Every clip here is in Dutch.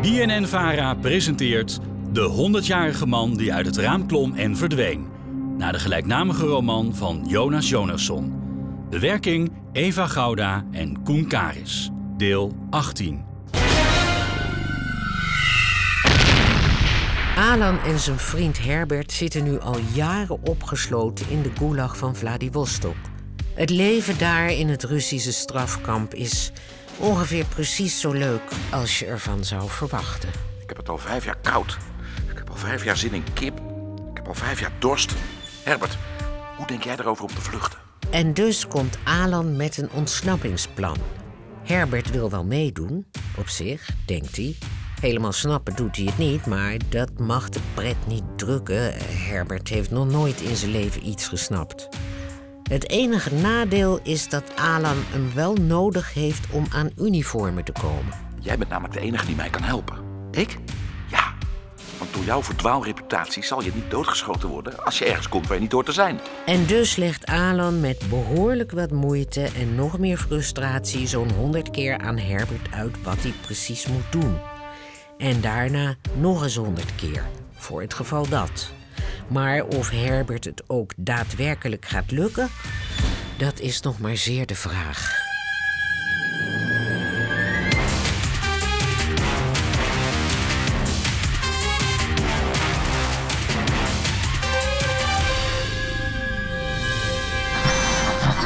BNN Vara presenteert De 100-jarige man die uit het raam klom en verdween. Naar de gelijknamige roman van Jonas Jonasson. Bewerking Eva Gouda en Koen Karis. Deel 18. Alan en zijn vriend Herbert zitten nu al jaren opgesloten in de gulag van Vladivostok. Het leven daar in het Russische strafkamp is ongeveer precies zo leuk als je ervan zou verwachten. Ik heb het al vijf jaar koud. Ik heb al vijf jaar zin in kip. Ik heb al vijf jaar dorst. Herbert, hoe denk jij erover om te vluchten? En dus komt Alan met een ontsnappingsplan. Herbert wil wel meedoen, op zich, denkt hij. Helemaal snappen doet hij het niet, maar dat mag de pret niet drukken. Herbert heeft nog nooit in zijn leven iets gesnapt. Het enige nadeel is dat Alan hem wel nodig heeft om aan uniformen te komen. Jij bent namelijk de enige die mij kan helpen. Ik? Ja, want door jouw verdwaalreputatie zal je niet doodgeschoten worden als je ergens komt waar je niet hoort te zijn. En dus legt Alan met behoorlijk wat moeite en nog meer frustratie zo'n honderd keer aan Herbert uit wat hij precies moet doen. En daarna nog eens honderd keer, voor het geval dat. Maar of Herbert het ook daadwerkelijk gaat lukken, dat is nog maar zeer de vraag.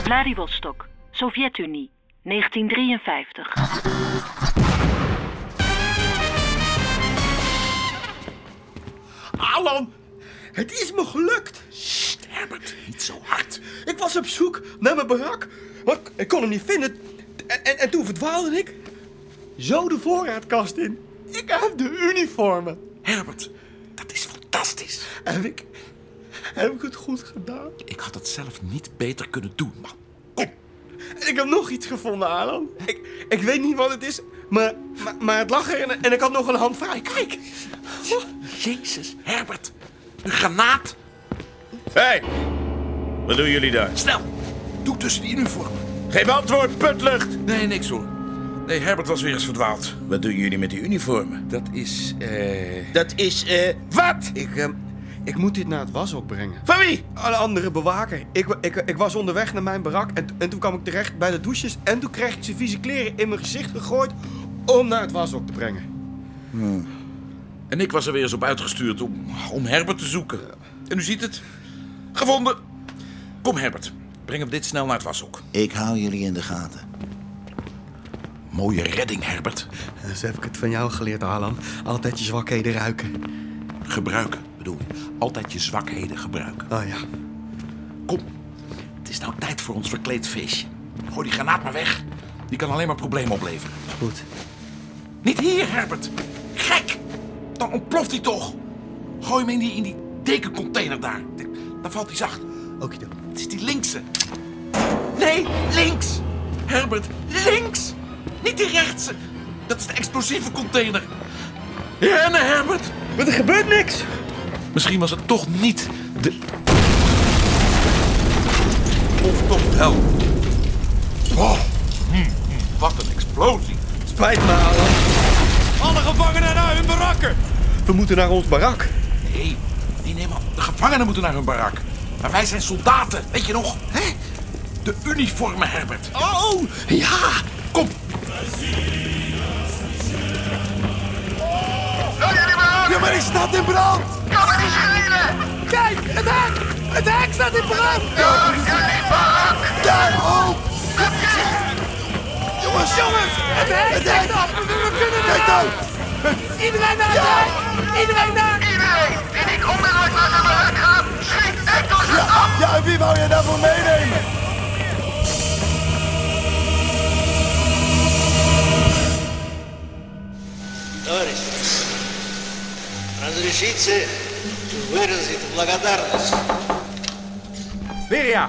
Vladivostok, Sovjet-Unie, 1953. Alan, het is me gelukt. Sst, Herbert, niet zo hard. Ik was op zoek naar mijn barak, maar ik- ik kon hem niet vinden. En, en, en toen verdwaalde ik zo de voorraadkast in. Ik heb de uniformen. Herbert, dat is fantastisch. Heb ik, heb ik het goed gedaan? Ik had het zelf niet beter kunnen doen, man. Kom, En ik heb nog iets gevonden, Alan. Ik, ik weet niet wat het is, maar, maar, maar het lag er en, en ik had nog een hand vrij. Kijk. Jezus, Herbert. Een granaat. Hé, hey, wat doen jullie daar? Snel, doe tussen die uniformen. Geef antwoord, putlucht! Nee, niks hoor. Nee, Herbert was weer eens verdwaald. Wat doen jullie met die uniformen? Dat is, eh... Dat is, eh, wat? Ik, ehm, ik moet dit naar het washok brengen. Van wie? Een andere bewaker. Ik, wa- ik, ik was onderweg naar mijn barak en, en toen kwam ik terecht bij de douches. En toen kreeg ik zijn vieze kleren in mijn gezicht gegooid om naar het washok te brengen. En ik was er weer eens op uitgestuurd om, om Herbert te zoeken. En u ziet het. Gevonden. Kom Herbert, breng hem dit snel naar het washok. Ik hou jullie in de gaten. Mooie redding Herbert. Zo heb ik het van jou geleerd, Alan. Altijd je zwakheden ruiken. Gebruiken, bedoel je. Altijd je zwakheden gebruiken. Oh ja. Kom, het is nou tijd voor ons verkleed feestje. Gooi die granaat maar weg. Die kan alleen maar problemen opleveren. Goed. Niet hier Herbert. Gek. Dan ontploft hij toch. Gooi hem in die, in die dekencontainer daar. Dan valt hij zacht. Oké dan. Het is die linkse. Nee, links! Herbert, links! Niet die rechtse! Dat is de explosieve container. Rennen, Herbert! Maar er gebeurt niks. Misschien was het toch niet de. Of toch wel? Oh, hm, hm, wat een explosie! Spijt me, Alan. Alle gevangenen naar hun barakken! We moeten naar ons barak. Nee, nee, nee, man. De gevangenen moeten naar hun barak. Maar wij zijn soldaten, weet je nog? Hè? De uniformen, Herbert. Oh, ja! Kom, Ja, maar die staat in brand! Kan het niet schelen! Kijk, het hek! Het hek staat in brand! Ja, Daar, oh! Jongens, jongens! Het hek! Het hek! We kunnen Kijk dan! Iedereen naar het hek! Iedereen naar... Iedereen die niet onderuit naar de markt gaat, schiet net door zijn af! Ja, wie wou je daarvoor meenemen? Товарищи, разрешите выразить благодарность. Liria,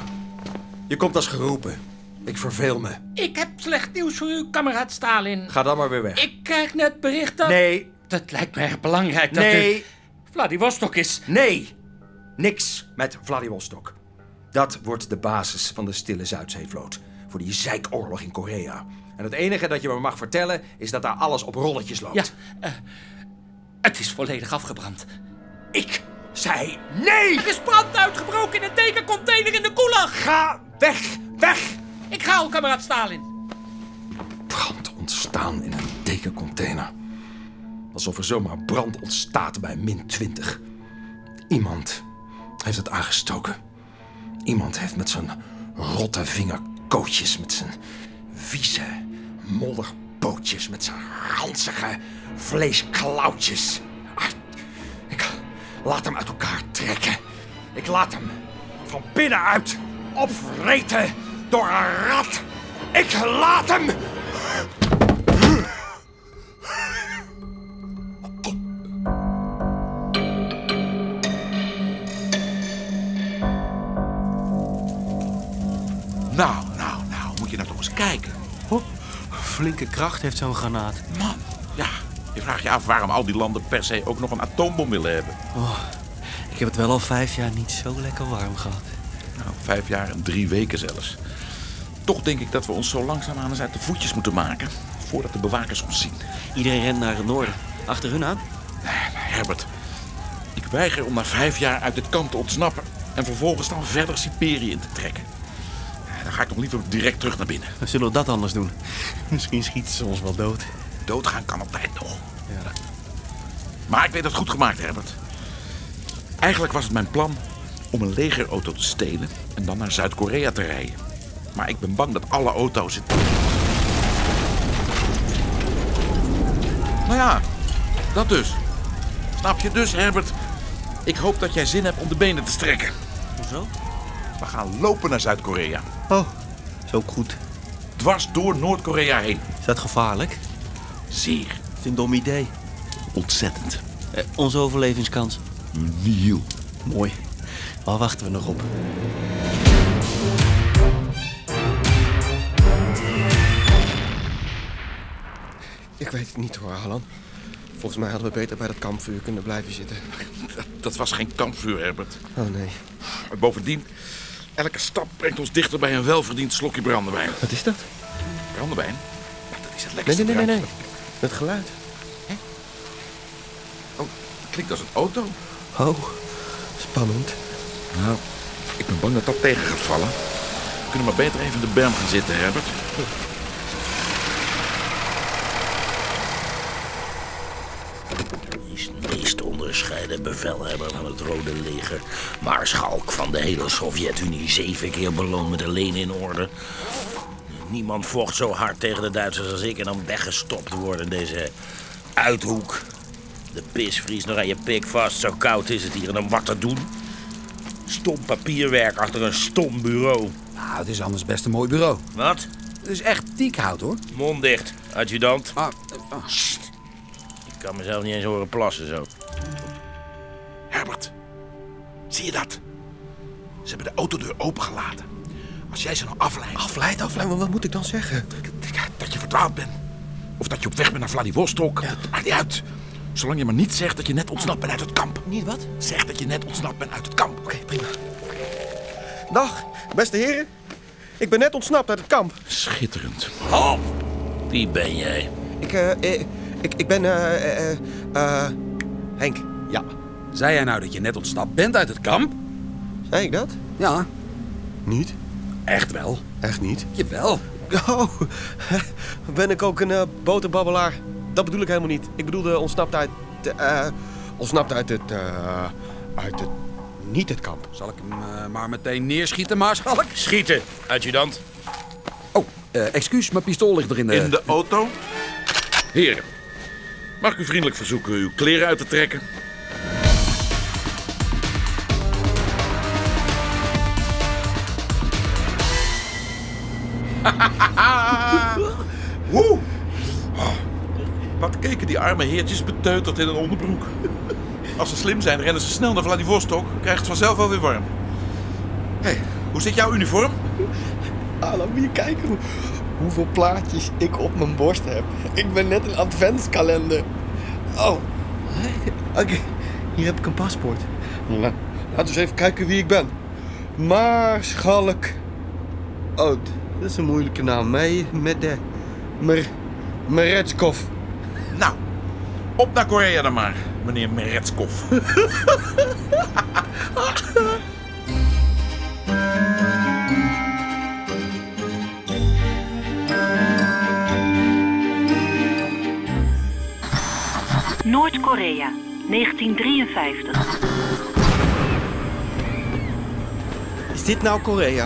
je komt als geroepen. Ik verveel me. Ik heb slecht nieuws voor u, kameraad Stalin. Ga dan maar weer weg. Ik krijg net bericht dat... Nee, Dat lijkt mij erg belangrijk dat u... nee, Vladivostok is. nee. Niks met Vladivostok. Dat wordt de basis van de stille Zuidzeevloot. Voor die zeikoorlog in Korea. En het enige dat je me mag vertellen is dat daar alles op rolletjes loopt. Ja, eh, het is volledig afgebrand. Ik Zij, nee! Er is brand uitgebroken in een tekencontainer in de koelag. Ga weg, weg! Ik ga al, kameraad Stalin. Brand ontstaan in een dekencontainer. Alsof er zomaar brand ontstaat bij min 20. Iemand heeft het aangestoken. Iemand heeft met zijn rotte vingerkootjes, met zijn vieze modderpootjes, met zijn ranzige vleesklauwtjes. Ah, Ik laat hem uit elkaar trekken. Ik laat hem van binnenuit opvreten door een rat. Ik laat hem. Nou, nou, nou, moet je nou toch eens kijken. Flinke kracht heeft zo'n granaat. Man, ja. Je vraagt je af waarom al die landen per se ook nog een atoombom willen hebben. Ik heb het wel al vijf jaar niet zo lekker warm gehad. Nou, vijf jaar en drie weken zelfs. Toch denk ik dat we ons zo langzaamaan eens uit de voetjes moeten maken. Voordat de bewakers ons zien. Iedereen rent naar het noorden. Achter hun aan? Herbert, ik weiger om na vijf jaar uit dit kamp te ontsnappen. En vervolgens dan verder Siberië in te trekken. Dan ga ik nog liever direct terug naar binnen. Zullen we dat anders doen? Misschien schieten ze ons wel dood. Doodgaan kan altijd nog. Maar ik weet het goed gemaakt, Herbert. Eigenlijk was het mijn plan om een legerauto te stelen en dan naar Zuid-Korea te rijden. Maar ik ben bang dat alle auto's het. Nou ja, dat dus. Snap je dus, Herbert? Ik hoop dat jij zin hebt om de benen te strekken. Hoezo? We gaan lopen naar Zuid-Korea. Oh, is ook goed. Dwars door Noord-Korea heen. Is dat gevaarlijk? Zeer Het is een dom idee. ontzettend. Eh, onze overlevingskans. Niel. Mooi. Waar wachten we nog op? Ik weet het niet hoor, Alan. Volgens mij hadden we beter bij dat kampvuur kunnen blijven zitten. Dat was geen kampvuur, Herbert. Oh nee. En Bovendien, elke stap brengt ons dichter bij een welverdiend slokje brandewijn. Wat is dat? Brandewijn? Ja, dat is het Nee, lekkerste nee, nee, nee. nee. druiven. Het geluid. Oh, Klinkt als een auto. Oh, spannend. Nou, ik ben bang dat dat tegen gaat vallen. We kunnen maar beter even in de berm gaan zitten, Herbert. is meest onderscheiden bevelhebber van het Rode Leger. Maarschalk van de hele Sovjet-Unie, zeven keer beloond met de lenen in orde. Niemand vocht zo hard tegen de Duitsers als ik en om weggestopt te worden in deze uithoek. De pis vriest nog aan je pik vast, zo koud is het hier en dan wat te doen. Stom papierwerk achter een stom bureau. Nou, het is anders best een mooi bureau. Wat? Het is echt diekhout hoor. Mond dicht, adjudant. Ah, Ik kan mezelf niet eens horen plassen zo. Herbert, zie je dat? Ze hebben de autodeur opengelaten. Als jij ze nou afleidt, afleid, afleid, maar wat moet ik dan zeggen? dat je verdwaald bent. Of dat je op weg bent naar Vladivostok. Het maakt niet uit. Zolang je maar niet zegt dat je net ontsnapt bent uit het kamp. Niet wat? Zeg dat je net ontsnapt bent uit het kamp. Oké, prima. Dag, beste heren. Ik ben net ontsnapt uit het kamp. Schitterend. Wie ben jij? Ik, eh, eh, ik, ik ben, eh, eh, eh, eh, Henk. Ja. Zei jij nou dat je net ontsnapt bent uit het kamp? Zei ik dat? Ja. Niet. Echt wel? Echt niet. Jawel. Oh, ben ik ook een eh, boterbabbelaar? Dat bedoel ik helemaal niet. Ik bedoelde ontsnapt uit, eh, ontsnapt uit het, eh, uit het, niet het kamp. Zal ik hem eh, maar meteen neerschieten, maarschalk? Schieten, adjudant. Oh, eh, excuus, mijn pistool ligt er in de... In de auto? Heren, mag ik u vriendelijk verzoeken uw kleren uit te trekken? Woe! Oh, Wat keken die arme heertjes beteuterd in een onderbroek. Als ze slim zijn, rennen ze snel naar Vladivostok. Krijgt het vanzelf wel weer warm. Hé, hoe zit jouw uniform? Hallo, moet je kijken hoe- hoeveel plaatjes ik op mijn borst heb. Ik ben net een adventskalender. Oh, oké. Hier heb ik een paspoort. La- Nou, Laten we eens even kijken wie ik ben. Maarschalk Oud. Dat is een moeilijke naam. Mee met de Mer... Meretskov. Nou, op naar Korea dan maar, meneer Meretskov. Noord-Korea, 1953. Is dit nou Korea?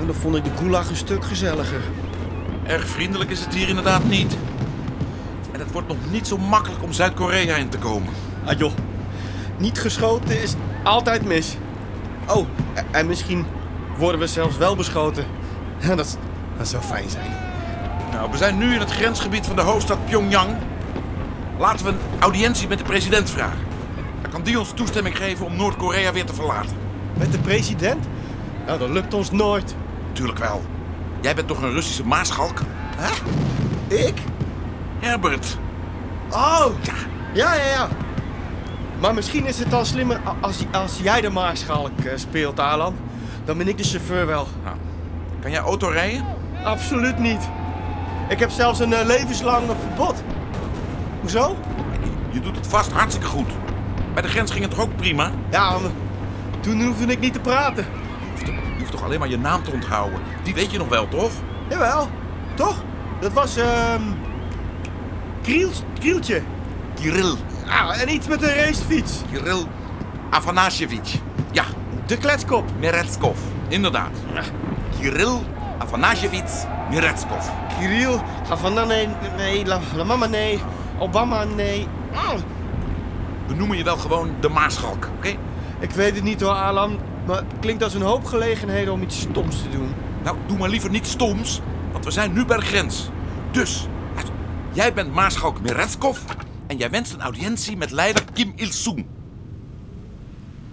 En dan vond ik de gulag een stuk gezelliger. Erg vriendelijk is het hier inderdaad niet. En het wordt nog niet zo makkelijk om Zuid-Korea in te komen. Ah joh, niet geschoten is altijd mis. Oh, en- en misschien worden we zelfs wel beschoten. Ja, Dat, dat zou fijn zijn. Nou, we zijn nu in het grensgebied van de hoofdstad Pyongyang. Laten we een audiëntie met de president vragen. Dan kan die ons toestemming geven om Noord-Korea weer te verlaten. Met de president? Nou, dat lukt ons nooit. Tuurlijk wel. Jij bent toch een Russische maarschalk? Ik? Herbert. Oh, ja. Ja, ja, ja. Maar misschien is het dan slimmer a- als, als jij de maarschalk eh, speelt, Alan. Dan ben ik de chauffeur wel. Kan jij auto rijden? Absoluut niet. Ik heb zelfs een eh, levenslang verbod. Hoezo? Je doet het vast hartstikke goed. Bij de grens ging het toch ook prima? Ja, maar toen hoefde ik niet te praten. Je hoeft toch alleen maar je naam te onthouden? Die weet je nog wel, toch? Jawel, toch? Dat was ehm Kriels- Krieltje. Kirill. Ah, en iets met een racefiets. Kirill Afanasjevich. Ja, De kletskop. Meretskov. Inderdaad. Kirill Afanasjevich Meretskov. Kirill, Havana, nee, nee, La, La Mama, nee. Obama, nee. Ah, We noemen je wel gewoon de Maarschalk, oké? ik weet het niet hoor, Alan. Maar het klinkt als een hoop gelegenheden om iets stoms te doen. Nou, doe maar liever niet stoms, want we zijn nu bij de grens. Dus, jij bent Maarschalk Meretskov en jij wenst een audiëntie met leider Kim Il-sung.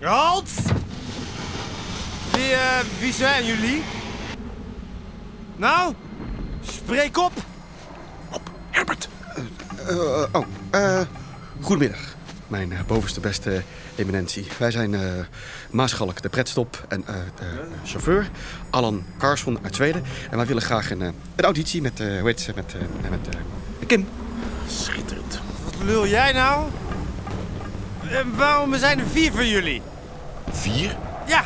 Halt! Wie, eh, wie zijn jullie? Nou, spreek op. Herbert, oh, eh, goedemiddag. Mijn eh, bovenste beste eminentie. Wij zijn eh Maaschalk, de pretstop en eh, de eh, chauffeur. Alan Carson uit Zweden. En wij willen graag een, eh, een auditie met, eh hoe heet ze, met, eh, met eh, Kim. schitterend. Wat lul jij nou? En waarom zijn er vier van jullie? Vier? Ja,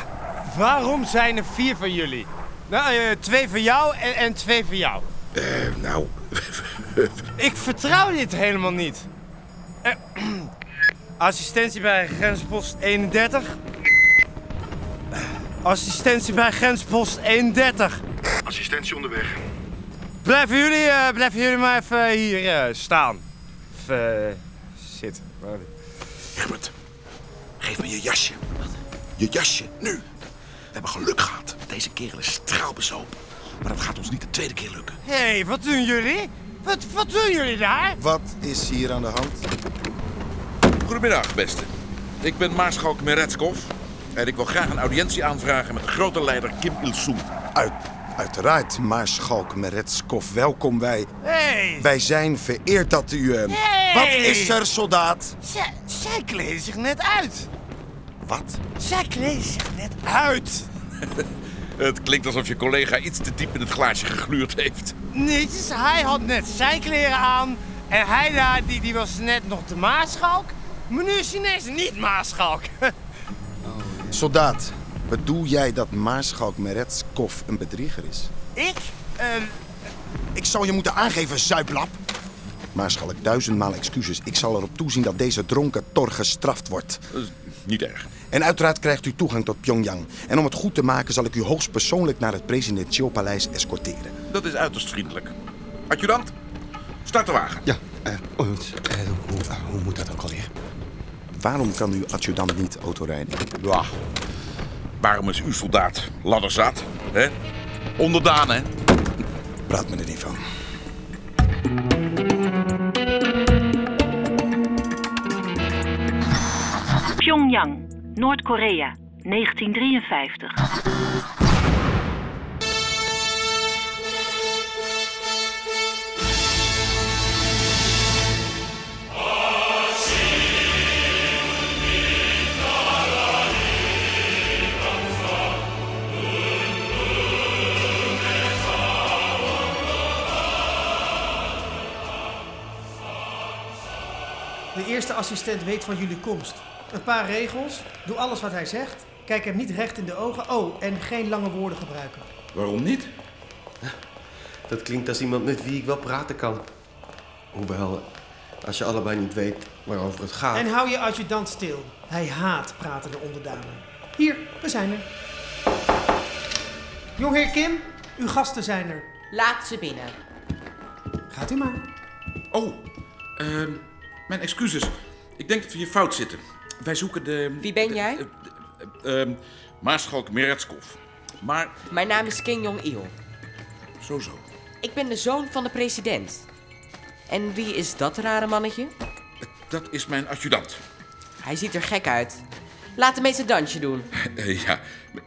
waarom zijn er vier van jullie? Nou, eh, twee van jou en, en twee van jou. nou, Ik vertrouw dit helemaal niet. Eh, assistentie bij grenspost 31. Assistentie bij grenspost 31. Assistentie onderweg. Blijven jullie, eh, blijven jullie maar even hier eh, staan. Of eh, zitten. Herbert, geef me je jasje. Je jasje, nu. We hebben geluk gehad. Deze kerel is straalbezopen. Maar dat gaat ons niet de tweede keer lukken. Hé, hey, wat doen jullie? Wat, wat doen jullie daar? Wat is hier aan de hand? Goedemiddag, beste. Ik ben Maarschalk Meretskov. En ik wil graag een audiëntie aanvragen met de grote leider Kim Il-sung. Uit, uiteraard, Maarschalk Meretskov, welkom wij. Hey! Wij zijn vereerd dat u... eh, Hey! Wat is er, soldaat? Zij, zij kleden zich net uit. Wat? Zij kleden zich net uit. Het klinkt alsof je collega iets te diep in het glaasje gegluurd heeft. Nietjes, hij had net zijn kleren aan. En hij daar, die, die was net nog de maarschalk. Maar nu is hij ineens niet maarschalk. Soldaat, bedoel jij dat Maarschalk Meretskov een bedrieger is? Ik? Eh, Ik zal je moeten aangeven, zuiplap. Maarschalk, duizendmaal excuses. Ik zal erop toezien dat deze dronken tor gestraft wordt. Niet erg. En uiteraard krijgt u toegang tot Pyongyang. En om het goed te maken zal ik u hoogstpersoonlijk naar het presidentieel paleis escorteren. Dat is uiterst vriendelijk. Adjudant, start de wagen. Ja, eh, oh, eh, hoe, hoe moet dat ook alweer? Waarom kan uw adjudant niet autorijden? Ja. Waarom is uw soldaat ladderzat? Hè? Onderdaan, hè? Praat me er niet van. Pyongyang, Noord-Korea, 1953. De eerste assistent weet van jullie komst. Een paar regels, doe alles wat hij zegt, kijk hem niet recht in de ogen. Oh, en geen lange woorden gebruiken. Waarom niet? Dat klinkt als iemand met wie ik wel praten kan. Hoewel, als je allebei niet weet waarover het gaat. En hou je adjudant stil. Hij haat pratende onderdanen. Hier, we zijn er. Jongheer Kim, uw gasten zijn er. Laat ze binnen. Gaat u maar. Oh, ehm, mijn excuses. Ik denk dat we hier fout zitten. Wij zoeken de... Wie ben jij? ehm, Maarschalk Meretskov. Maar... Mijn naam is King Jong-il. Zo, zo. Ik ben de zoon van de president. En wie is dat rare mannetje? Dat is mijn adjudant. Hij ziet er gek uit. Laat hem eens een dansje doen. Eh, ja,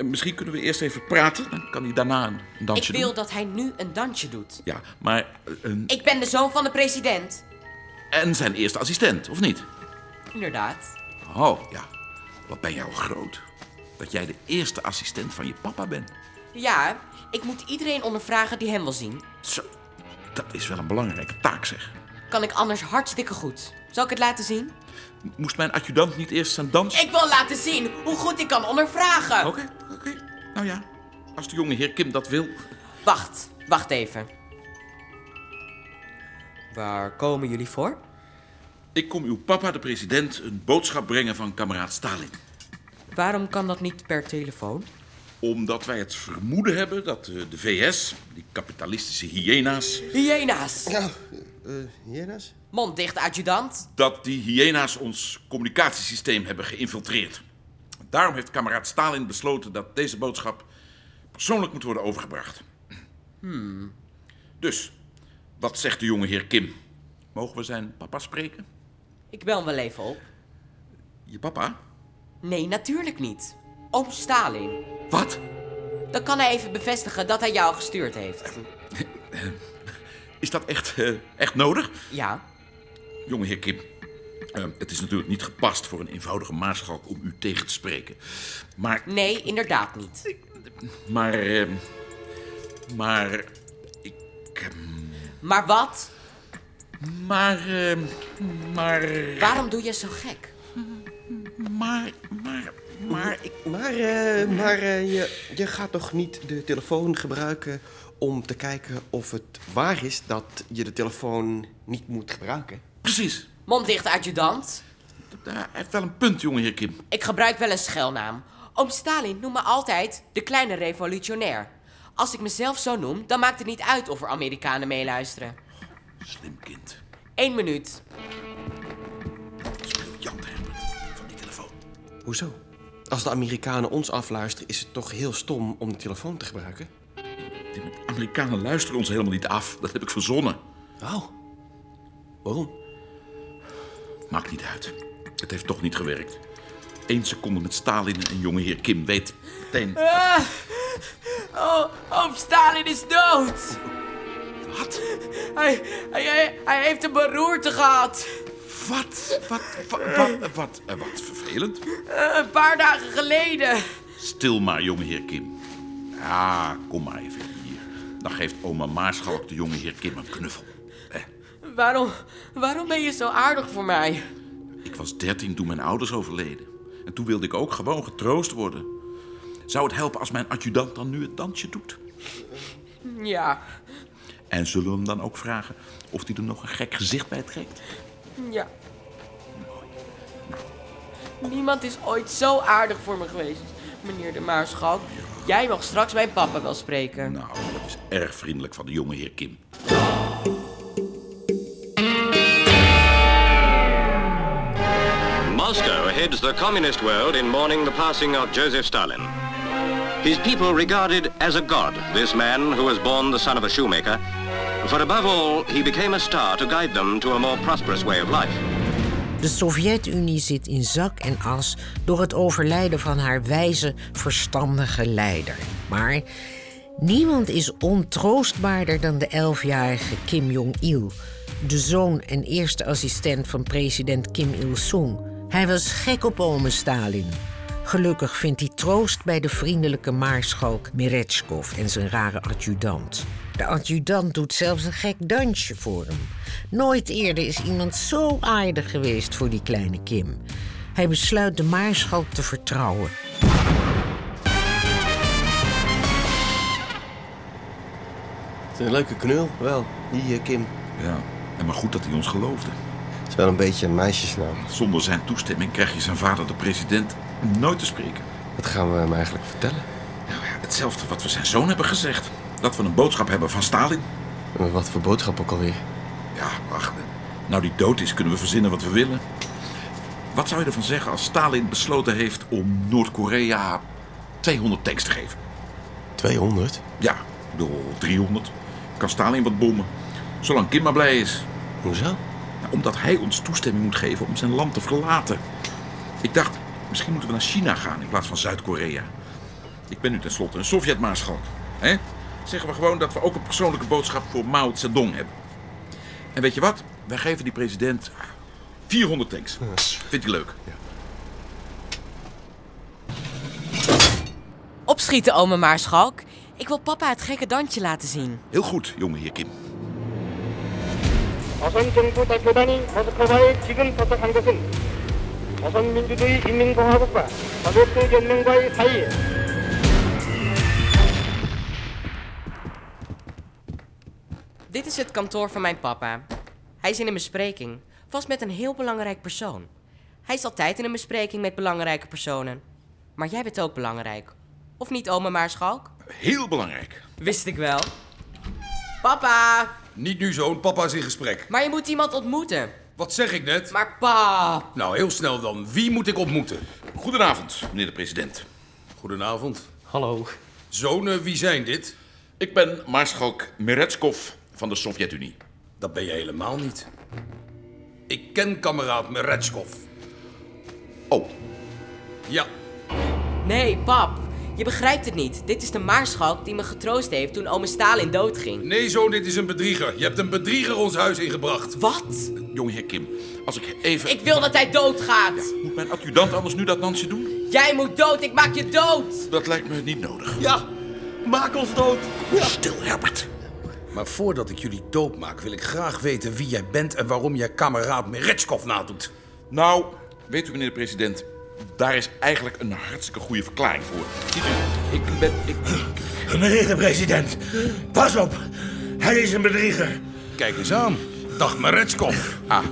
m- misschien kunnen we eerst even praten. Dan kan hij daarna een dansje Ik wil doen. dat hij nu een dansje doet. Ja, maar... eh, een- Ik ben de zoon van de president. En zijn eerste assistent, of niet? Inderdaad. Oh, ja. Wat ben jij al groot. Dat jij de eerste assistent van je papa bent. Ja, ik moet iedereen ondervragen die hem wil zien. Zo, dat is wel een belangrijke taak, zeg. Kan ik anders hartstikke goed. Zal ik het laten zien? Moest mijn adjudant niet eerst zijn dans... Ik wil laten zien hoe goed ik kan ondervragen. Oké, oké. Nou ja. Als de jonge heer Kim dat wil. Wacht, wacht even. Waar komen jullie voor? Ik kom uw papa, de president, een boodschap brengen van kameraad Stalin. Waarom kan dat niet per telefoon? Omdat wij het vermoeden hebben dat eh, de VS, die kapitalistische hyena's... Hyena's! Nou, hyena's? Mond dicht, adjudant. dat die hyena's ons communicatiesysteem hebben geïnfiltreerd. Daarom heeft kameraad Stalin besloten dat deze boodschap persoonlijk moet worden overgebracht. Hmm. Dus, wat zegt de jonge heer Kim? Mogen we zijn papa spreken? Ik bel hem wel even op. Je papa? Nee, natuurlijk niet. Oom Stalin. Wat? Dan kan hij even bevestigen dat hij jou gestuurd heeft. Is dat echt, eh, echt nodig? Ja. Jonge heer Kim, eh, het is natuurlijk niet gepast voor een eenvoudige maarschalk om u tegen te spreken. Maar, Nee, inderdaad niet. maar, eh, maar, Maar wat? Maar, ehm, maar... Waarom doe je zo gek? Maar, maar, maar... Ik... Maar, eh, maar eh, je, je gaat toch niet de telefoon gebruiken om te kijken of het waar is dat je de telefoon niet moet gebruiken? Precies. Mond dicht, adjudant. Hij heeft wel een punt, jongeheer Kim. Ik gebruik wel een schelnaam. Oom Stalin noemt me altijd de kleine revolutionair. Als ik mezelf zo noem, dan maakt het niet uit of er Amerikanen meeluisteren. Slim kind. Eén minuut. Hoezo? Als de Amerikanen ons afluisteren, is het toch heel stom om de telefoon te gebruiken? Amerikanen luisteren ons helemaal niet af. Dat heb ik verzonnen. Oh. Waarom? Maakt niet uit. Het heeft toch niet gewerkt. Eén seconde met Stalin en jongeheer Kim weet meteen... Ah, oh, oom Stalin is dood. Wat? Hij, hij, hij, hij heeft een beroerte gehad. Wat? Wat? Wat? Wat? Wat, eh, wat vervelend. een paar dagen geleden. Stil maar, jongeheer Kim. Ja, kom maar even hier. Dan geeft oma Maarschalk de jongeheer Kim een knuffel. Waarom, waarom ben je zo aardig voor mij? Ik was dertien toen mijn ouders overleden. En toen wilde ik ook gewoon getroost worden. Zou het helpen als mijn adjudant dan nu het dansje doet? Ja, En zullen we hem dan ook vragen of hij er nog een gek gezicht bij trekt? ja. Niemand is ooit zo aardig voor me geweest, meneer de Maarschalk. Jij mag straks mijn papa wel spreken. Nou, dat is erg vriendelijk van de jongeheer Kim. Moscow heads the communist world in mourning the passing of Joseph Stalin. His people regarded as a god this man who was born the son of a shoemaker, for above all, he became a star to guide them to a more prosperous way of life. De Sovjet-Unie zit in zak en as door het overlijden van haar wijze, verstandige leider. Maar niemand is ontroostbaarder dan de elfjarige Kim Jong-il, de zoon en eerste assistent van president Kim Il-sung. Hij was gek op ome Stalin. Gelukkig vindt hij troost bij de vriendelijke maarschalk Meretschkov en zijn rare adjudant. De adjudant doet zelfs een gek dansje voor hem. Nooit eerder is iemand zo aardig geweest voor die kleine Kim. Hij besluit de maarschalk te vertrouwen. Het is een leuke knul, wel, die eh, Kim. Ja, en maar goed dat hij ons geloofde. Het is wel een beetje een meisjesnaam. Zonder zijn toestemming krijg je zijn vader, de president, nooit te spreken. Wat gaan we hem eigenlijk vertellen? Nou ja, hetzelfde wat we zijn zoon hebben gezegd. Dat we een boodschap hebben van Stalin. Eh, Wat voor boodschap ook alweer? Ja, wacht. Nou die dood is, kunnen we verzinnen wat we willen. Wat zou je ervan zeggen als Stalin besloten heeft om Noord-Korea 200 tanks te geven? 200? Ja, door 300. Kan Stalin wat bommen. Zolang Kim maar blij is. Hoezo? Nou, omdat hij ons toestemming moet geven om zijn land te verlaten. Ik dacht, misschien moeten we naar China gaan in plaats van Zuid-Korea. Ik ben nu tenslotte een Sovjet-maarschalk. hè? Zeggen we gewoon dat we ook een persoonlijke boodschap voor Mao Zedong hebben. En weet je wat? Wij geven die president 400 tanks. Vindt hij leuk? Opschieten, ome Maarschalk. Ik wil papa het gekke dansje laten zien. Heel goed, jongeheer Kim. 어선정부 대표단이 모스크바에 지금 도착한 것은 어선민주주의 인민공화국과 자국적 연맹과의 사이에 Dit is het kantoor van mijn papa. Hij is in een bespreking, vast met een heel belangrijk persoon. Hij is altijd in een bespreking met belangrijke personen. Maar jij bent ook belangrijk. Of niet, ome Maarschalk? Heel belangrijk. Wist ik wel. Papa, Niet nu zoon, papa is in gesprek. maar je moet iemand ontmoeten. Wat zeg ik net? Maar pa, Nou, heel snel dan. Wie moet ik ontmoeten? Goedenavond, meneer de president. Goedenavond. Hallo. Zonen, wie zijn dit? Ik ben Maarschalk Meretskov van de Sovjet-Unie. Dat ben je helemaal niet. Ik ken kameraad Meretskov. Oh. Ja, Nee, pap. Je begrijpt het niet. Dit is de maarschalk die me getroost heeft toen ome Stalin doodging. nee zoon, dit is een bedrieger. Je hebt een bedrieger ons huis ingebracht. Wat? Jongeheer Kim, als ik even... Ik wil dat hij doodgaat. Moet mijn adjudant anders nu dat Nancy doen? Jij moet dood, ik maak je dood. Dat lijkt me niet nodig. Ja, maak ons dood. Stil, Herbert. Maar voordat ik jullie doodmaak, wil ik graag weten wie jij bent en waarom jij kameraad Meretskov nadoet. Nou, weet u meneer de president, daar is eigenlijk een hartstikke goede verklaring voor. Ziet u, ik ben... Ik... Meneer de president, pas op. Hij is een bedrieger. Kijk eens aan. Dag Meretskov. Ah,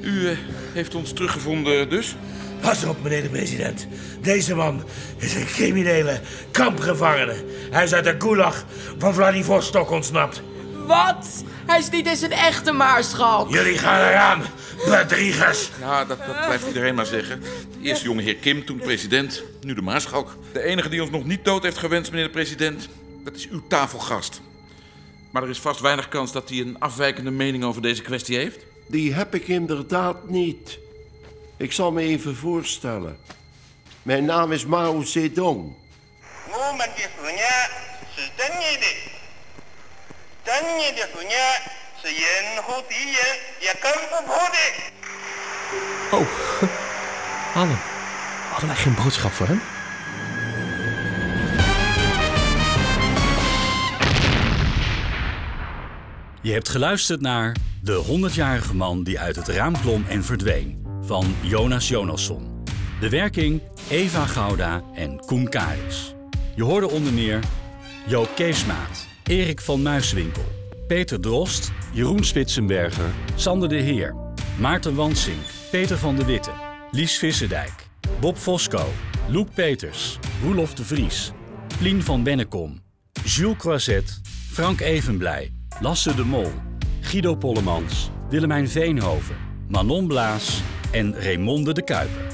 u eh, heeft ons teruggevonden dus? Pas op, meneer de president. Deze man is een criminele kampgevangene. Hij is uit de gulag van Vladivostok ontsnapt. Wat? Hij is niet eens een echte maarschalk. Jullie gaan eraan, bedriegers. Ja, dat, dat blijft iedereen maar zeggen. Eerst jongeheer Kim, toen president, nu de maarschalk. De enige die ons nog niet dood heeft gewenst, meneer de president, dat is uw tafelgast. Maar er is vast weinig kans dat hij een afwijkende mening over deze kwestie heeft. Die heb ik inderdaad niet. Ik zal me even voorstellen. Mijn naam is Mao Zedong. Oh. Hallo. Hadden wij geen boodschap voor hem? Je hebt geluisterd naar De 100-jarige man die uit het raam klom en verdween van Jonas Jonasson. De werking Eva Gouda en Koen Karis. Je hoorde onder meer Joop Keesmaat, Erik van Muiswinkel, Peter Drost, Jeroen Spitsenberger, Sander de Heer, Maarten Wansink, Peter van de Witte, Lies Visserdijk, Bob Fosco, Loek Peters, Roelof de Vries, Plien van Bennekom, Jules Croiset, Frank Evenblij, Lasse de Mol, Guido Pollemans, Willemijn Veenhoven, Manon Blaas en Raymonde de Kuiper.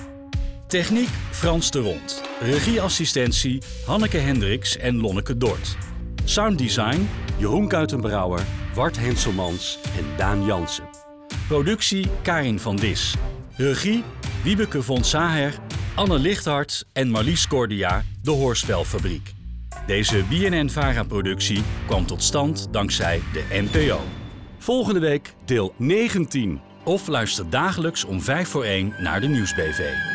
Techniek Frans de Rond. Regieassistentie Hanneke Hendricks en Lonneke Dort. Sounddesign Jeroen Kuitenbrouwer, Wart Henselmans en Daan Jansen. Productie Karin van Dis. Regie Wiebeke von Saher, Anne Lichthart en Marlies Cordia, de Hoorspelfabriek. Deze BNN-Vara-productie kwam tot stand dankzij de NPO. Volgende week deel 19. Of luister dagelijks om 5 voor 1 naar de Nieuwsbv.